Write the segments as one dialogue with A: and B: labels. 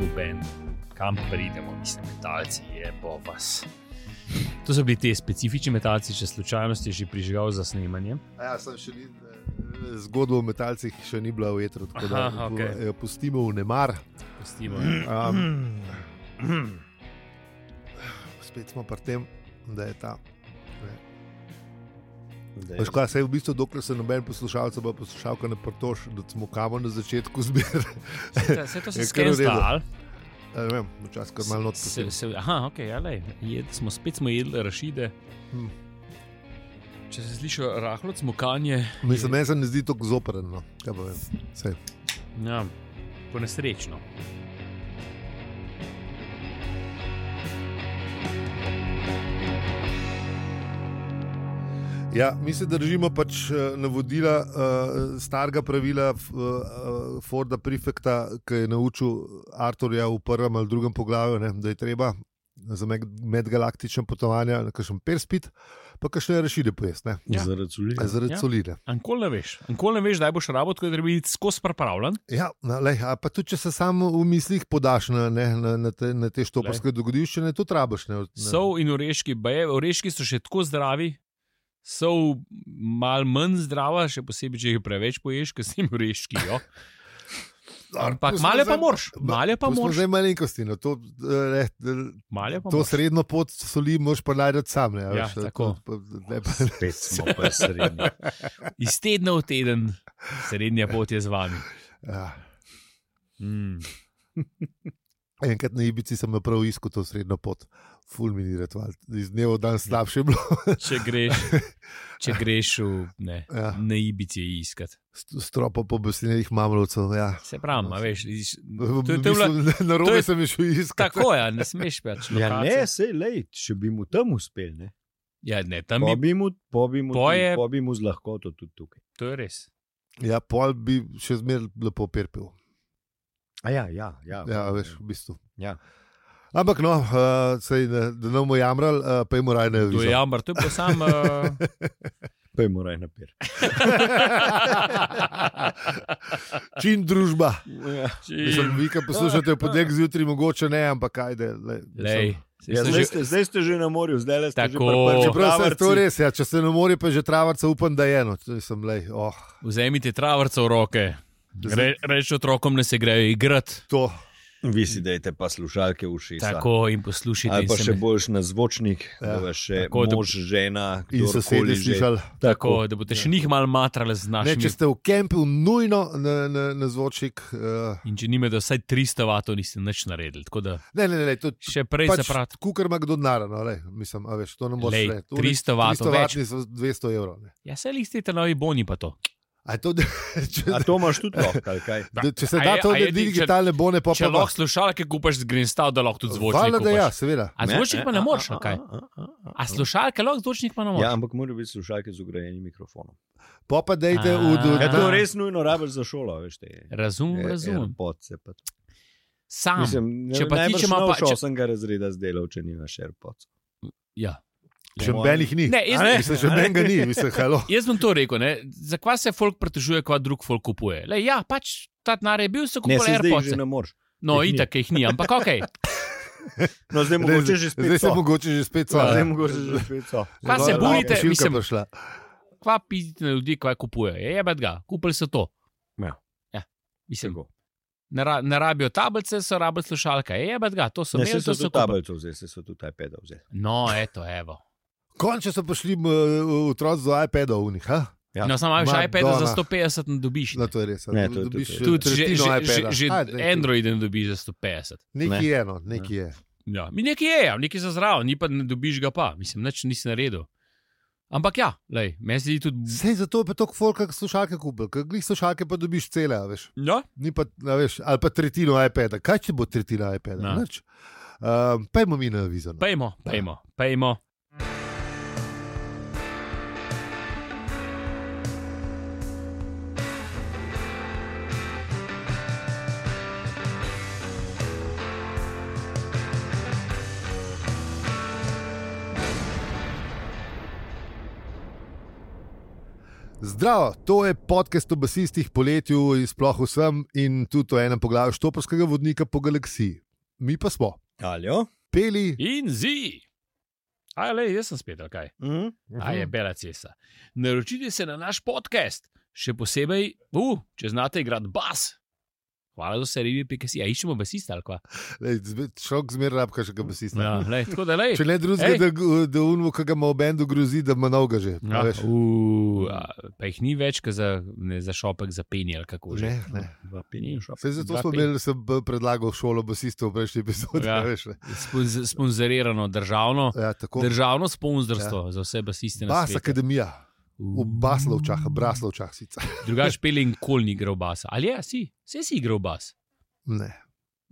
A: noben, kam pridemo, mislim, metalci je po vas. To so bili ti specifični metalci, če slučajno ste že prižigal za snemanje.
B: A Ja, sem še ni, eh, zgodba o metalcih še ni bila v jetru, tako da
A: Aha,
B: jo
A: okej.
B: jo pustimo v nemar.
A: Pustimo. Mm.
B: Um, spet smo pri tem, da je ta. Veš, kaj, saj v bistvu, dokler se noben poslušalec ali poslušalka ne pritož, da smo kavo na začetku zbirali.
A: Vse to
B: Je
A: se
B: kar v redu.
A: skeniralo.
B: Ja, Ne vem, včasih kar malo odpisuje.
A: Aha, ok, ja, lej, jed, smo, spet smo jedli rašide.
B: Hm.
A: Če se sliši rahlo cmokanje,
B: Mislim, meni se ne zdi tako zoprno. Kaj pa vem. Saj.
A: ja, ponesrečno.
B: Ja, mi se držimo pač eh, navodila uh, starega pravila f- eh, Forda Prefekta, ki je naučil Arturja v prvem ali drugem poglavju, ne, da je treba za med- medgalaktična potovanja na kakšen perspit, pa kakšne rešitve pojesti, ne,
A: Ja.
C: Zaradi sulja.
B: zaradi
A: Ja.
B: ja. solide.
A: Ankol ne veš, ankol ne veš, da boš rabo, tako da bi bil skozi pripravljen.
B: Ja, na, lej, a pa tudi, če se samo v mislih podaš na, ne, na, na te, na te štoparske dogodivščine, to trabaš. Ne, od- ne.
A: So in oreški, baje, oreški so še tako zdravi, so mal manj zdrava, še posebej, če jih preveč poješ, ker si jim oreški. Jo. Ampak
B: Pustimo
A: male pa
B: zdaj-
A: moraš, male pa
B: pustimo
A: moraš.
B: Zdaj malenkosti, no, to, eh, ne,
A: Male pa
B: To
A: moraš.
B: srednjo pot soli, moš pa najdete sam. Ne, a
A: Ja,
B: veš, to-
A: tako.
B: to- ne, pa-
C: Spet smo pa srednji.
A: Iz tedna v teden, srednja pot je z vami.
B: ja.
A: Mm.
B: Enkrat na Ibici sem imel prav isko to srednjo pot, fulminirati, iz dneva v dan slabše je bilo.
A: Če greš, če greš v ne,
B: Ja.
A: na Ibici iskati.
B: S- Stropo po besedilih mamlovcev. Ja.
A: Se pravi, a veš, iz,
B: V
A: to, je- to je bila,
B: bistvu Na
A: to
B: robe
A: je-
B: sem šel iskat.
A: tako, ja, ne smeš več.
C: Ja, ne, sej, lej, če bi mu tam uspel, ne.
A: ja, ne, tam je,
C: Po bi mu, po bi mu,
A: Po
C: tudi-
A: je-
C: po bi mu z lahkoto tudi tukaj.
A: to je res.
B: Ja, pol bi še zmeraj lepo perpil.
C: A ja, ja, ja.
B: Ja, veš, v bistvu.
C: Ja.
B: Ampak no, uh, sej, da, da nam bomo jamrali, uh, pa jim raje ne
A: To je ja-
B: vidiš.
A: jambar, to je pa sam. Uh,
C: Pa je moraj napir.
B: Čim družba.
C: Ja.
B: Mislim, vi, ki poslušate podnebje zjutraj, mogoče ne, ampak ajde. Le,
A: Lej, saj
C: Ja,
A: so
C: zdaj,
A: že-
C: ste, zdaj ste že na morju, zdaj le ste
A: Tako.
C: že pri
B: Čeprav se to
C: prvi
B: res, ja, če se ne more, pa že travarca upam, da je eno. To Sem, lej, oh,
A: Vzemite travrce v roke. Re, reč otrokom, da se grejo igrati.
B: to,
C: Vi si dajte pa slušalke v ušesa.
A: Tako in poslušajte.
C: Ali
A: in
C: pa
A: se
C: še
A: me-
C: boljš na zvočnik,
B: Ja.
C: ja. da je še
A: Tako, da-
C: mož, žena,
B: in sosedje
C: kdorkoli že.
B: slišali.
A: Tako, da boste še njih malo matrali z
B: Ne,
A: našimi.
B: če ste v kampu, nujno na, na, na zvočnik. Uh,
A: In če nime, da vsaj 300 vatov niste nič naredili. Tako da
B: ne, ne, ne, lej, to
A: še prej se pravi.
B: Kukar ima kdo denarno, mislim, a veš, to Pač ne moreš
A: Lej,
B: reči.
A: 300 vatov več.
B: vatni so 200 evrov. ne.
A: Ja, se lihste te novi boni pa to.
B: A je to, da- če,
C: A to imaš tudi lahko, ali kaj?
B: da, če se
A: A
B: da
A: je-
B: to,
A: a
B: da
A: je ti- če-
B: digitalne bone, pa
A: Če
B: pa
A: lahko slušalke kupaš z Greenstav, da lahko tudi zvočnik.
B: Hvala, da ja,
A: kupaš.
B: seveda.
A: A zvočnik pa ne moreš, ali kaj? A slušalke lahko zvočnik pa ne
C: Ja,
A: moreš.
C: ampak morajo biti slušalke z ugrajenim mikrofonom.
B: Pa pa dejte v
A: A. Ja,
B: do-
C: Ja, to
A: Aha.
C: res nujno rabiš za šolo, veš te.
A: Razumem,
B: E,
C: Air-
A: Hm, razumem.
C: AirPods je pa to.
A: Sam.
C: Ja, Mislim, ne,
A: Če pa ti, če ima pa-
C: Če
A: če-
C: sem ga razreda zdelal, če nimaš AirPods.
A: Ja.
B: Še nobenih ni.
A: Ne, jaz,
C: A ne?
B: Mislim, še nobenega ni, mislim, halo.
A: Jaz bom to rekel, ne? zakaj se folk pritožuje, kva drug folk kupuje. Le, ja, pač ta denar je bil, so
C: Ne,
A: kupili
C: se zdaj jih
A: AirPods.
C: že ne moreš.
A: No,
C: jih ni.
A: itak jih ni, ampak ok.
C: No, zdaj mogoče že spet.
B: Zdaj se
C: so.
B: mogoče že spet
C: Ja, Zdaj
B: sva.
C: mogoče že spet. so.
A: Pa se
C: Nova
A: bunite,
C: pošiljka.
A: mislim-
B: Prišla.
A: Kva pizdi na ljudi, kva kupuje. Je jebet ga, kupili so to.
C: Ja.
A: ja. Mislim,
C: Tako.
A: ne, ra, ne rabijo tablice, so rabijo slušalke. Je jebet ga, to so
C: Ne,
A: imeli,
C: se
A: to
C: so
A: so
C: tudi
A: kupili.
C: tablico vzeli, se so tudi iPada vzeli.
A: No, eto, evo.
B: Končno so prišli m, otroci do iPada v njih. ha?
C: Ja.
A: No, samo imaš iPad za
B: Madonna.
A: 150, ne dobiš.
B: No, to je res. a
C: Ne, to je-
B: dobiš eh,
C: to je-
A: Tudi že, že,
B: tretjino
A: že,
B: iPada.
A: že
B: Ajde, nekaj-
A: Android ne dobiš za 150.
B: Nekaj je eno, nekaj je.
A: Ja, mi nekaj je, ja, nekaj za zraven, ni pa ne dobiš ga pa, mislim, nič nisi naredil. Ampak ja, lej, meni se zdi tudi.
B: Sej zato je pa toliko folk, kak slušalke kupil, kak glih slušalke pa dobiš cele, a veš.
A: Ja,
B: Ni pa, a veš, ali pa tretjino iPada. Kaj če bo tretjina iPada?
A: Ja.
B: Nič. Um, pa imamo mi na vizo. no.
A: Pejmo, pejmo, pejmo.
B: Zdravo, to je podcast o basistih poletju in sploh vsem in tudi o enem poglavju štoprskega vodnika po galaksiji. Mi pa smo
C: Aljo?
B: peli,
A: In zi. A le, jaz sem spet, ali kaj.
C: Mhm.
A: A je bela cesta. Naročite se na naš podcast, še posebej, uh, če znate igrati bas. Hvala za vse ribe, pika si. A Ja, iščemo basista ali kva.
B: Lej, zbe- človek zmeraj rabka še ga basista.
A: Ja, lej, tako da le.
B: Če ne drugega,
A: Ej.
B: da, gu- da unvo, ki ga ima v bendu, grozi, da ima novega že.
A: Ja,
B: a veš.
A: uh, pa jih ni več, ker za, ne, za šopek zapenjal, kako že.
B: Ne, ne.
C: Dva pinja šopa.
B: Saj zato
A: Dva
B: smo
A: pe-
B: imeli, sem b- predlagal šolo basistov v prejšnji epizodi.
A: Ja.
B: a veš, ne.
A: Sponz- Sponzorirano državno,
B: Ja, tako.
A: državno sponzorstvo ja. za vse basiste na
B: Bas
A: svetu.
B: akademija, v Baslovčah, Braslovčah sicer.
A: Drugač pelin kol ni igral basa. Ali ja, si, vse si igral bas.
B: Ne.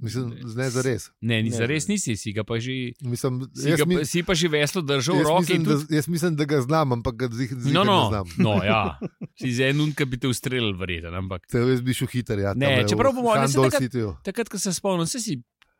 B: Mislim,
A: Ne.
B: ne za res.
A: Ne, ni
C: Ne,
A: za res
C: ne.
A: nisi, si ga pa že.
B: Mislim,
A: Si,
B: jaz
A: ga,
B: mi-
A: mi, si pa že veslo držal v
B: jaz
A: roki.
B: mislim, da- jaz mislim, da ga znam, ampak ga zdi, da
A: No,
B: ne
A: no,
B: znam.
A: no ja. si za en unka bi te ustrelil, verjeten. Ampak
B: Te jaz bi šel hiter. Ja,
A: Ne,
B: tamle v
A: čeprav po mojem, ne, saj
B: Handball
A: takrat-
B: Cityju.
A: takrat, ko se spomnim, se si.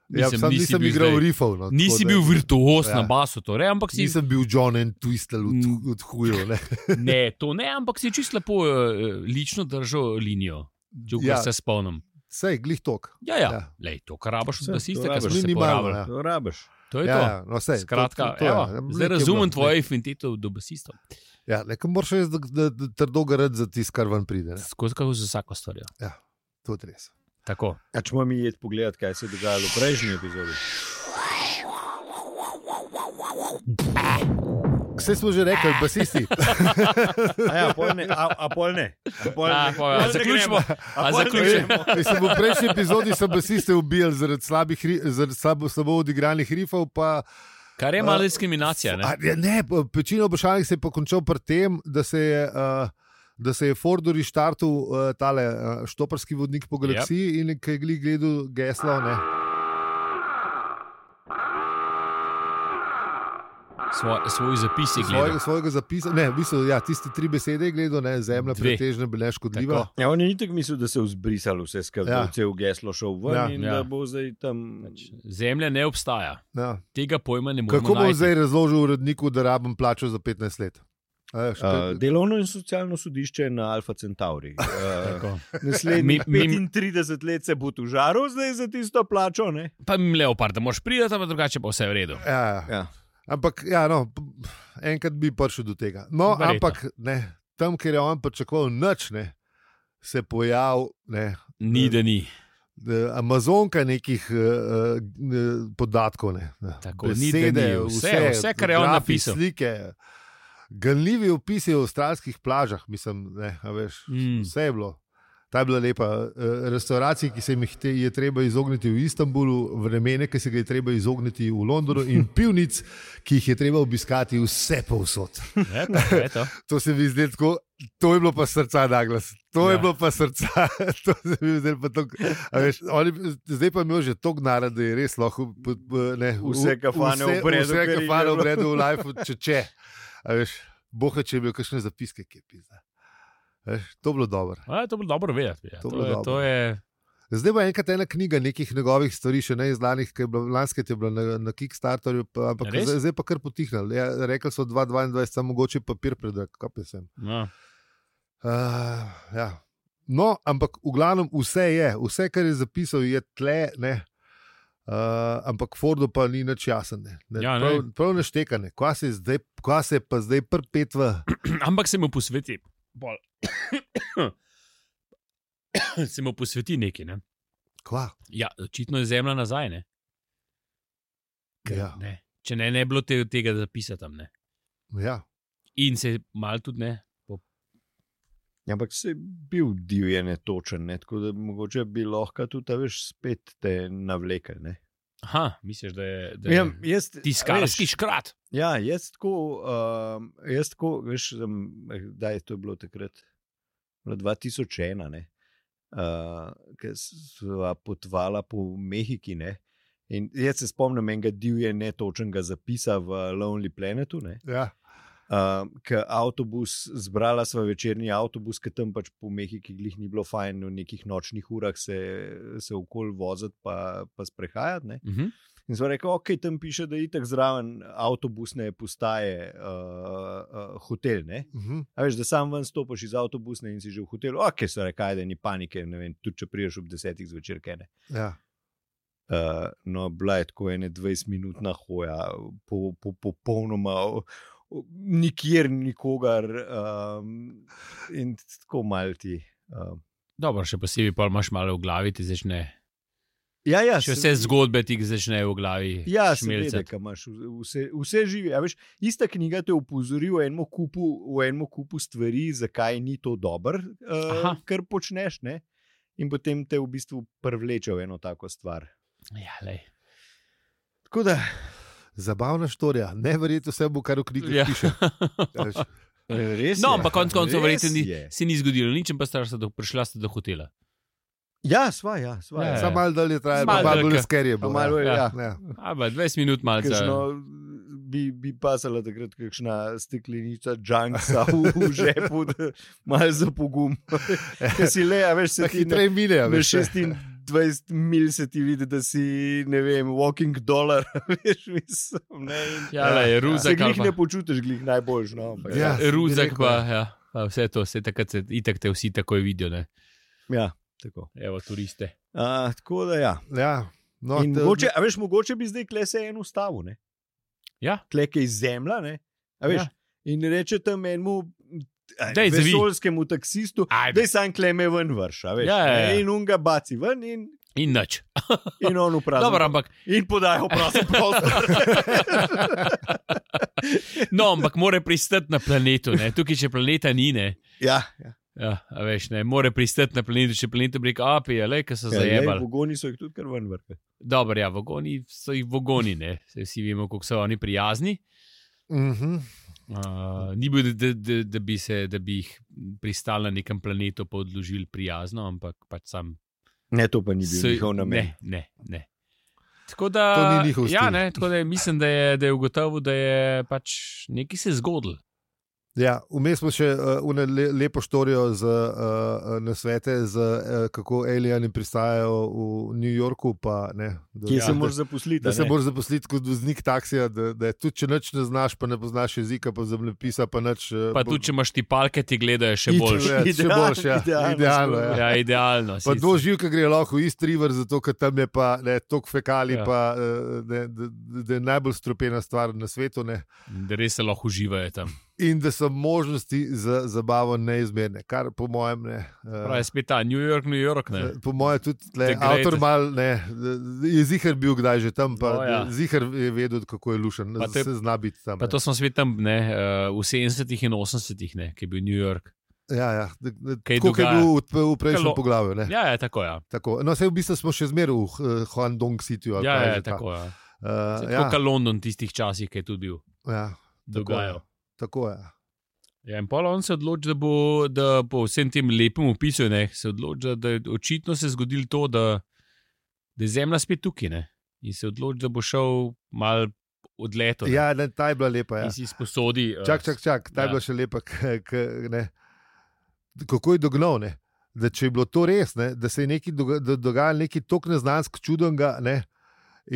B: Ja,
A: Mislim,
B: sam
A: nisi
B: nisem
A: bil
B: igral
A: zdaj-
B: rifov. No,
A: Nisi
B: tako da-
A: bil virtuos ja. na
B: Ja.
A: basu, torej, ampak si.
B: Nisem bil John and Twistel od,
A: Mm.
B: od hujev. ne.
A: Ne, to ne, ampak si čisto lepo uh, lično držal linijo, če ja.
B: Ja.
A: se spomnim.
B: Sej, glih tok.
A: Ja, ja. ja.
B: Ja.
A: Lej, to, kar rabaš od
C: Vse,
A: basista,
C: to
A: kar
C: rabiš.
A: si
B: Minimalno,
A: porabil.
B: ja.
C: To rabiš.
A: To je
B: Ja,
A: to.
B: ja, no, sej,
A: Skratka,
B: to, to, to,
A: evo,
B: ja.
A: zdaj razumem tvoje infiniteto do basistov.
B: Ja, nekaj moraš res da, da, da trdo garati za tisto, kar ven pride. Ne?
A: Skozi kako z vsako ja. stvarjo.
B: To je res.
A: Tako.
C: A Ja, če moramo iti pogledat, kaj se je dogajalo v prejšnji epizodi.
B: Vse smo že rekli, basisti.
C: A ja, pol ne. A, a pol ne. A pol
A: A,
C: ne.
A: Ja, pol- a
C: Pol ne
A: zaključimo?
C: gremo.
A: A
C: pol ne
A: zaključimo?
C: gremo.
B: Mislim, v prejšnji epizodi so basiste ubijali zaradi, slabih, ri- zaradi slabo, slabo odigranih rifov. Pa,
A: Kar je
B: A,
A: malo diskriminacija. Ne?
B: Eh, a, ja, ne, pa večina vprašanj se je pa končal pri tem, da se je. Uh, Da se je Fordu reštartil uh, tale uh, štoparski vodnik po galaksiji yep. in ki je glih gledal geslo. Ne.
A: Svoj, svoj zapis je
B: Svojega,
A: gledal.
B: svojega zapisa, ne, v bistvu, ja, tiste tri besede je gledal, ne, zemlja
A: Dve.
B: pretežno bila škodljiva.
A: Tako.
C: Ja, on je itek mislil, da se je vzbrisalo vse skupaj,
B: Ja.
C: ja. cel geslo šel ven
B: Ja.
C: ja. in
A: Ja. Pač,
C: ja. da bo zdaj tam. eh,
A: Zemlja ne obstaja.
B: Ja.
A: Tega pojma ne moremo
B: Kako bom
A: najti.
B: zdaj razložil uredniku, da rabim plačo za 15 let? A veš,
C: Uh,
B: kaj-
C: delovno in socialno sodišče na Alfa Centauri. Uh,
A: Tako.
C: naslednjih
A: Mi- mi-
C: 35 let se bo tužaril zdaj za tisto plačo. Ne?
A: Pa jim leopard, da moraš priti, ampak drugače pa vse je v redu.
B: Ja, ja.
C: Ja.
B: Ampak ja, no, p- enkrat bi prišel do tega. No,
A: Verjetno.
B: ampak ne, tam, kjer je on pričakoval noč, ne, se je pojavil ne,
A: Ni, da ni.
B: eh, Amazonka nekih eh, eh, podatkov. Ne,
A: Tako, ni, da ni. Vse, vse, kar je on
B: grafi,
A: napisal.
B: Slike, Ganljivi opisi o avstralskih plažah, mislim, ne, a veš,
A: Mm.
B: vse je bilo. Ta je bila lepa. Eh, Restauracije, ki se jim jih te, je treba izogniti v Istanbulu, vremene, ki se ga je treba izogniti v Londonu, in pivnic, ki jih je treba obiskati vse povsod.
A: Ne, pa, to je to.
B: To se mi zdi tako, to je bilo pa srca na glas, to ja. je
A: Ja.
B: bilo pa srca. to se mi zdi pa tako. a Veš, oni, zdaj pa imajo že toliko nara, da je res lahko. p- p- Ne, v-
C: Vse kafane
B: vse-
C: v Bredu,
B: Vse
C: ker jih je
B: kafane
C: bilo.
B: obredu v Life, če če. A Veš, boha, če je bil kakšne zapiske, ki je pisal. To je bilo dobro.
A: A, je to bilo dobro vedeti. Ja. To,
B: To bilo
A: to, je,
B: dobro.
A: to je
B: Zdaj bo enkrat ena knjiga nekih njegovih stvari, še ne izdanih, ki je bila lansko je bila na, na Kickstarterju, pa, ampak
A: Res?
B: zdaj, zdaj pa kar potihnil. Ja, rekli so 2022, samo mogoče papir predrag, kaj pa sem.
A: no,
B: Uh, ja. No, ampak v glavnem vse je, vse, kar je zapisal, je tle. Ne, uh, ampak Fordu pa ni nič jasen. Ne, ne,
A: Ja, ne.
B: prav, prav neštekane, kva se, je zdaj, kva se je pa zdaj prpet v.
A: ampak se mu posveti. Bolj. se mu posveti neki. Ne?
B: Kva?
A: Ja, očitno je zemlja nazaj. Ne? Ker
B: Ja,
A: Ne. Če ne, ne bi bilo te, tega zapisati tam. Ne?
B: ja.
A: In se mal tudi ne.
C: Ja, Ampak se je bil divjen, netočen, ne? tako da mogoče bi lahko tudi, a veš, spet te navlekel. ne.
A: Aha, misliš, da je. Da je
C: Ja, jaz-
A: Tiskarski
C: veš,
A: škrat.
C: Ja, jaz tako, um, jaz tako, veš, um, da je to bilo takrat, bilo 2001, ne, uh, ki smo potovali po Mehiki. Ne, in jaz se spomnim enega divje, netočnega zapisa v Lonely Planetu. Ne,
B: ja.
C: um, ki avtobus, zbrala sva večerni avtobus, ki tam pač po Mehiki glih ni bilo fajn, v nekih nočnih urah se, se okol voziti, pa, pa sprehajati. Ne.
A: Uh -huh.
C: In so rekli, ok, tam piše, da je itak zraven avtobusne postaje uh, uh, hotel. Ne?
B: Mhm.
C: A veš, da sam ven stopiš iz avtobusne in si že v hotelu, ok, so rekli, ajde, ni panike, ne vem, tudi če priješ ob desetih zvečer, kaj ne.
B: Ja.
C: Uh, no, bila je tako ena 20-minutna hoja, po- po- popolnoma, po, po nikjer, nikogar um, in tako malti. Um.
A: Dobro, še posebej, pa imaš malo v glavi, ti začne.
C: Ja, ja,
A: Še vse
C: seveda.
A: zgodbe ti začnejo v glavi.
C: Ja, seveda,
A: šmelcati.
C: ki imaš v- vse, vse živi. A Veš, ista knjiga te opozori v enem kupu, v enem kupu stvari, zakaj ni to dobro,
A: Aha.
C: uh, kar počneš. Ne? In potem te v bistvu privleče v eno tako stvar.
A: Ja, lej.
C: Tako da,
B: Zabavna štorija, ne verjeti vse, kar v knjigi
A: Ja.
B: ja. piše. a veš.
C: Eh, res
A: No,
C: je.
A: ampak konec koncev,
C: Res
A: verjetno ni-
C: je.
A: se ni zgodilo nič, in pa sta se do- prišla sta do hotela.
C: Ja, sva, ja, sva.
A: Ja,
C: Ja,
B: Samo malo dalje traja,
A: Malo
B: pa malo
A: dalj,
B: bolj
A: ke-
B: skerje.
C: Pa malo,
A: Ja.
C: ja.
B: Ja.
A: A, ba, 20 minut malce.
C: Kakšno, bi, bi pasala takrat kakšna steklenica džungla v, v žepu, da- malo za pogum. Ker si le, a veš,
B: Ja.
C: se ti ne,
B: Hitreje mine, a
C: Na
B: veš. ne.
C: 26
A: ja.
C: mil se ti vidi, da si, ne vem, walking dollar, veš, mislim. Ne, in,
A: Ja, lej,
C: se
A: ruzak. ali
C: glih
A: pa-
C: ne počutiš, glih najboljš. No, ampak,
B: Ja,
C: ja.
B: sem bi
A: Ruzak
B: rekel,
A: pa, ja, pa vse to, vse takrat se itak te vsi takoj vidijo, ne?
C: ja, tako.
A: Evo, turiste.
C: A, tako da ja.
B: Ja. No,
C: In
B: te-
C: mogoče, a veš, mogoče bi zdaj kle se en ustavu, ne?
A: Ja.
C: Kle je zemlja, ne? A
A: Ja.
C: veš, ja. in reče tam enemu a,
A: Daj, zavij.
C: vesoljskemu taksistu,
A: Ajde.
C: da sam kleme ven vrš, a veš.
A: Ja, ja, ja.
C: ne, In unga baci ven in,
A: In nič.
C: in on
A: Dobro,
C: upravlja.
A: ampak,
C: In podajo prosim prostor.
A: no, ampak mora pristati na planetu, ne? Tukaj, če planeta ni, ne?
C: ja, ja.
A: Ja, a veš, ne, more pristati na planetu, če planetu brek, a pije, le, ki so
C: Ja, glej,
A: zajemali.
C: Vogoni so jih tudi kar ven vrkli.
A: Dobro, ja, vagoni so jih vagoni, ne, Saj vsi vemo, kako so oni prijazni.
B: Mhm.
A: Uh, ni bil, da, da, da, bi se, da bi jih pristali na nekem planetu, pa odložili prijazno, ampak pač sam.
C: Ne, to pa ni bil
A: so-
C: njihov namen.
A: Ne, ne. ne. Tako da,
B: To ni njihov
A: ja,
B: stil.
A: ne, tako da je, mislim, da je, da je ugotovil, da je pač nekaj se zgodilo.
B: Ja, vmes smo še uh, une le, lepo štorijo z uh, na svete, z, uh, kako alieni pristajajo v New Yorku. Pa, ne, da,
C: Kje
A: Ja.
C: se moraš zaposliti?
B: Da
C: a
B: se
C: ne?
B: moraš zaposliti kot voznik taksija, da, da je tudi če nič ne znaš, pa ne poznaš jezika, pa zemljepisa, pa nič. eh,
A: Pa
B: bo-
A: tudi, če imaš ti palke, ti gledajo še
C: Itak,
A: bolj.
B: Ja, še
C: Idealno,
B: boljš, ja.
C: idealno,
B: Idealno,
C: skoraj.
B: ja.
A: Ja, idealno.
B: Pa
A: si-
B: doživka gre lahko iz Triver, zato ker tam je pa ne, tok
A: Ja.
B: fekali, ja. pa, eh, ne, da, da je najbolj strupena stvar na svetu. Ne.
A: Da res se lahko uživajo tam.
B: In da so možnosti za zabavo neizmerne, kar po mojem ne. eh,
A: Pravi, spet ta New York, New York. Ne?
B: Po mojem, tudi tle,
A: The greatest.
B: avtor mal, ne, je zihar bil kdaj že tam, pa
A: No,
B: no,
A: ja.
B: ja. zihar je vedel, kako je lušen,
A: Pa
B: da
A: te-
B: se zna biti tam.
A: Pa
B: ne.
A: to smo svet tam ne, eh, v 70-ih in 80-ih, ne, ki je bil New York.
B: Ja, ja, da- da-
A: Kaj
B: tako kot je
A: dogaja?
B: bil v, v prejšnjem
A: Kalo-
B: poglavju. ne.
A: Ja, je tako. Ja,
B: Tako. No, sej v bistvu smo še zmeraj v eh, Huandong Cityju. ali
A: ja, ja
B: kaj je
A: je
B: že ta.
A: tako. Ja.
B: Eh,
A: Tako
B: ja,
A: kot London tistih časih, ki je tudi bil.
B: ja,
A: Dogajal.
B: tako je.
A: Ja, in pa on se odloči, da bo da po vsem tem lepem opisu, ne, se odloči, da- da je očitno se je zgodilo to, da, da je zemlja spet tukaj. Ne, in se odloči, da bo šel mal odleto. ne.
B: Ja, ne, ta je bila lepa. Ja.
A: Torej. In si sposodi. eh,
B: Čak, čak, čak, ta
A: Ja.
B: je bila še lepa. K, k, ne. Kako je dognal? Ne? Da če je bilo to res, ne? da se je nekaj doga- da dogajalo nekaj tako neznansko čudenega. Ne?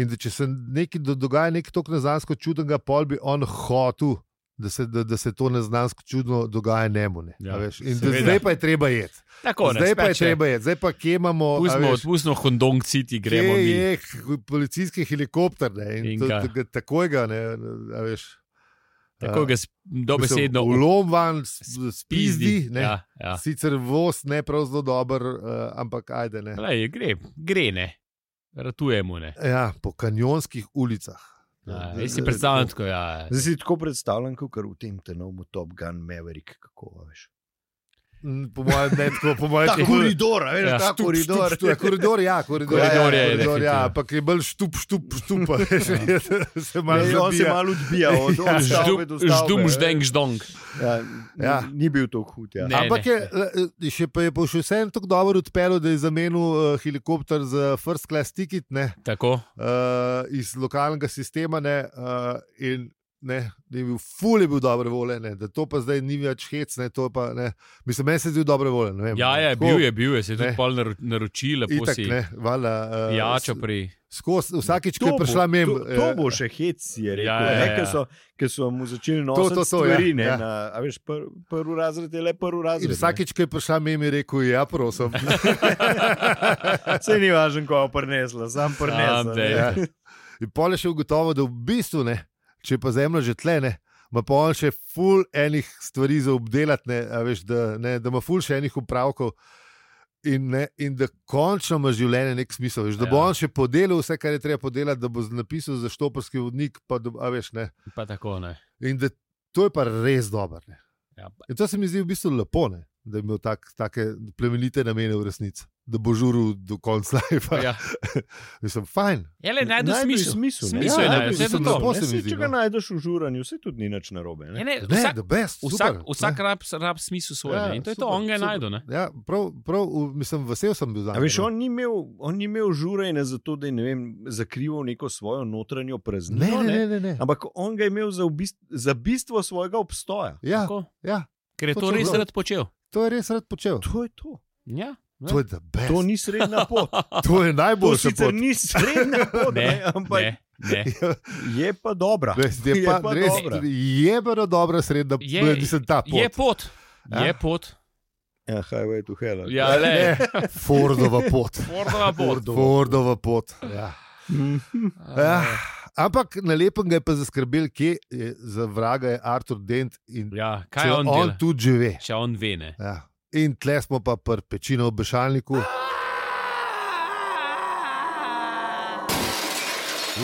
B: In da če se nekaj do- dogaja nekaj tako neznansko čudenega, pol bi on hotel. Da se, da, da se to neznansko čudno dogaja njemu. Ne,
A: Ja,
B: ja, in da,
A: seveda.
B: zdaj pa je treba jeti.
A: Tako, ne,
B: Zdaj pa je
A: spet še
B: treba jeti, zdaj pa kje imamo. a
A: Pustimo,
B: veš,
A: odpustimo Hondong City, gremo
B: kje
A: mi.
B: je k- policijski helikopter ne, in,
A: In
B: in to,
A: ga-
B: ga- takoj ga ne. a Veš,
A: Tako
B: a-
A: ga s- dobesedno
B: Ulom van
A: pizdi.
B: spizdi. ne.
A: Ja, ja.
B: Sicer voz ne prav zelo dober, uh, ampak ajde ne.
A: Lej, gre, gre ne, ratujemo ne.
B: Ja, po kanjonskih ulicah.
A: Ja, Jaz si predstavljam tako, ja.
C: Zdaj si tako predstavljam, kot v tem tenovem Top Gun Maverick, kako a veš.
B: Mm, Po mojem, ne tako, po mojem,
C: Ta
B: tako-
C: koridor, a veš,
A: Ja.
C: ja.
B: Štup,
C: ta
B: štup,
C: koridor.
B: štup, ja, koridor, ja, koridor,
A: Koridor je
B: ja, koridor,
A: definitivno.
B: ja, ampak je bolj štup, štup, štup. a veš, se malo
C: Ne, Ja, on se
B: zabija.
C: malo odbija od
B: Ja.
C: od stavbe do stavbe.
A: Ždum,
C: veš.
A: ždeng, ždong.
C: Ja, ni-
B: Ja.
C: Ni bil to hud. Ja.
A: Ne.
B: Ampak je, eh, še pa je pa še vseeno tako dobro odpeljal, da je zamenil eh, helikopter za first class ticket, ne,
A: Tako.
B: eh, iz lokalnega sistema. Ne, eh, in Ne, da je bil ful, je bil dobre vole, ne, da to pa zdaj ni več hec. Ne, to pa, ne, mislim, meni se je zdel dobre vole. ne Vem,
A: Ja, ja,
B: tako,
A: bil je, bil je, se je
B: Ne.
A: tudi pol naro- naročil, lepo
B: Itak,
A: si Ja,
B: ne, vala, uh,
A: pijačo pri.
B: Skozi, vsakič, ko
C: To
B: je
C: bo-
B: prišla mem. eh,
C: To, to bo še hec, je rekel.
A: Ja,
C: Ja,
A: ja,
C: ja,
A: ja.
C: ja. Ker so mu začeli nositi
B: to,
C: to, to,
B: to,
C: to, stvari.
B: ja,
C: ne,
B: ja.
C: Na, a veš, pr, prvi razred je le prvi
B: In
C: razred.
B: vsakič, ko je prišla mem, je rekel: Ja, prosim.
C: Se ni važno, ko je prnesla, sam
A: Sam,
C: prnesla.
A: daj.
C: ne.
B: Ja. In pol je še ugotovil, da v bistvu ne, če je pa zemlja že tlene. Ma pa on še ful enih stvari za obdelati, ne, a veš, da, ne, da ima ful še enih upravkov in, ne, in da končno ima življenje nek smisel. Veš, da bo
A: Ja.
B: on še podelal vse, kar je treba podelati, da bo z- napisal za štoprski vodnik. Pa, da, a veš, ne.
A: Pa tako ne.
B: In da to je pa res dobro. Ne.
A: Ja,
B: In to se mi zdi v bistvu lepo, ne, da je imel tak, take plemenite namene v resnici, da bo žuril do konca life.
A: ja.
B: Mislim, fajn.
A: Je Ja, le najdu
C: Najdu
A: smisel.
C: smisel, ne.
A: smisel je
B: Ja,
A: najdu,
B: najdu
A: vse je to
B: smisel,
A: to.
B: lepo se
C: Ne,
B: mi
C: saj,
B: zdi,
C: če ga
B: no.
C: najdeš v žuranju, vse tudi ni nič narobe.
A: Ja, Ne,
C: Ne?
A: ne,
B: Ne,
A: vsak
B: da best.
A: vsak,
B: super,
A: vsak
B: ne.
A: rab, rab smisel svoj.
B: Ja,
A: Ja, in to je to,
B: super,
A: on ga je
B: super.
A: najdel. ne.
B: Ja, prav, prav, v- mislim, vesel sem bil no. za
C: A veš, on ni imel, on ni imel žurajne zato, da je ne vem, zakrival neko svojo notranjo praznino.
B: Ne, ne, ne. ne, ne.
C: Ampak on ga je imel za, obist, za bistvo svojega obstoja.
B: Ja,
A: Tako,
B: ja,
A: Ker je to
B: Točno
A: res
B: bilo.
A: rad počel.
B: to je res rad počel.
C: To je to.
A: Ja.
B: To je, the best.
C: To ni srednja pot.
B: to je
C: To
B: najboljši
C: sicer
B: pot.
C: ni srednja pot, ne,
A: Ne,
C: ampak
A: ne, ne.
C: je pa dobra.
B: Res, je pa, pa res
C: dobra.
B: jebeno dobra srednja,
A: Je-
B: je, mislim, ta pot.
A: Je pot.
B: Ja.
A: Je pot.
C: Ja, highway to hell. ali
A: Ja,
C: kaj?
A: le.
B: Ne, Fordova pot.
A: Fordova pot.
B: Fordova pot. Ja.
A: Ah,
B: Ja. Ampak na lepem ga je pa zaskrbel, kje je za vraga je Artur Dent in
A: Ja, kaj
B: če
A: on
B: on
A: dela?
B: tudi že ve.
A: Če on ve, ne.
B: Ja. In tle smo pa pri pečino v bešalniku.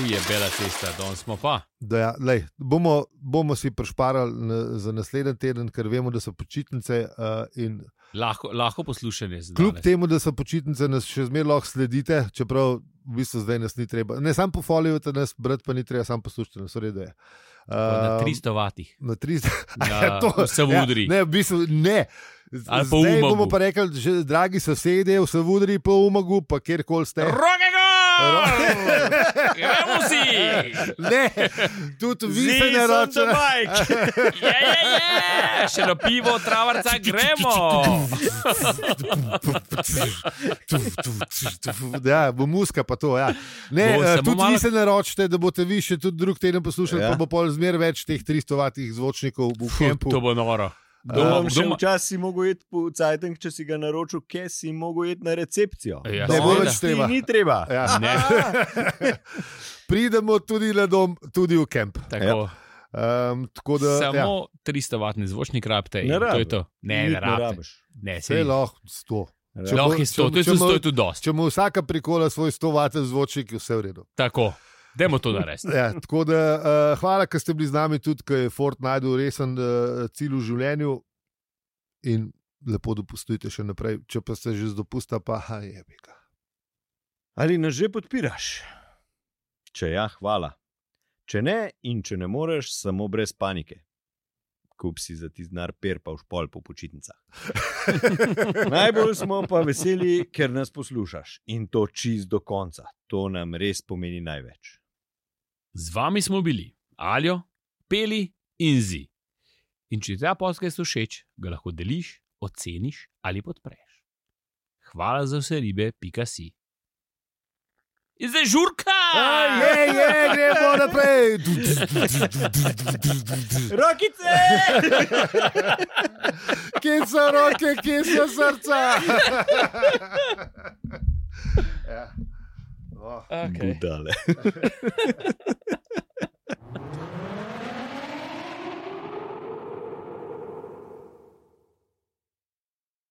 A: Uje, bela cesta, danes smo pa.
B: Da, ja, lej, bomo, bomo si prešparali na, za naslednji teden, ker vemo, da so počitnice. Uh, in
A: Lahko, lahko poslušanje zdaj.
B: kljub temu, da so počitnice, nas še zmeraj lahko sledite, čeprav v bistvu zdaj nas ni treba. Ne samo pofolijate nas, brat pa ni treba, samo poslušajte nas, uredu je. Uh,
A: Na 300 vatih.
B: Na 300.
A: Ja,
B: to
A: vse v udri.
B: Ja, ne, v bistvu ne. Z-
A: Ali po
B: Zdaj
A: umagu.
B: bomo pa rekli, že, dragi sosedje, vse v udri, po umagu, pa kjerkoli ste.
A: Roke gor!
B: Ro-
A: Gremo si!
B: Ne, tudi vi se ne
C: Zizam the
B: ročete.
C: bike.
A: Je, je, je! Še na pivo, travarca, gremo!
B: Ja, bo muska pa to. Ja. Ne,
A: Bo
B: eh,
A: samo
B: tudi malo... vi
A: malo-
B: se naročite, da boste vi še tudi drug teden poslušali, ja.
C: Ja.
B: pa bo pol zmer več teh 300-vatih zvočnikov v Ehm, kampu.
A: To bo noro.
C: To
A: Doma,
C: bom še
A: doma.
C: včasih mogel iti po Cajtank, če si ga naročil, kje si mogel iti na recepcijo.
A: Ja,
B: Ne bo
A: seveda.
B: več treba.
C: Ni treba.
B: Ja.
A: Ne,
B: Pridemo tudi na dom, tudi v kamp.
A: tako.
B: Um, tako ja, da, ja,
A: Samo 300 vatni zvočnik rabite. in
C: Ne
A: To je
C: rabi.
A: to. Ne,
C: Nič
A: ne rabite.
C: rabiš.
A: Ne,
B: vse
A: se
B: lahko sto.
C: Če
B: bo-
A: Lahko je
B: če-
A: 100, to je
B: če
A: tudi
B: bo-
A: 100, je tudi dosti.
B: Če mu vsaka prikola svoj 100-vaten zvočnik, je vse v redu.
A: Tako, dajmo to narediti.
B: Ja, tako da, uh, hvala, ker ste bili z nami tudi, ker je Fort najdel resen uh, cilj v življenju in lepo dopustujte še naprej. Če pa ste že z dopusta, pa ha, je bika.
C: Ali nas že podpiraš? Če ja, hvala. Če ne, in če ne moreš, samo brez panike. Kup si za tiznar per pa v špol po počitnicah. Najbolj smo pa veseli, ker nas poslušaš in to čist do konca. To nam res pomeni največ.
A: Z vami smo bili, Aljo, Peli in Zi. In če ti ta podcast všeč, ga lahko deliš, oceniš ali podpreš. Hvala za vse ribe, pika si. In zdaj žurka!
B: Je, je, gremo naprej.
C: Rokice!
B: Kje so roke, kje so srca? ja. oh.
A: Okay.
C: Budale.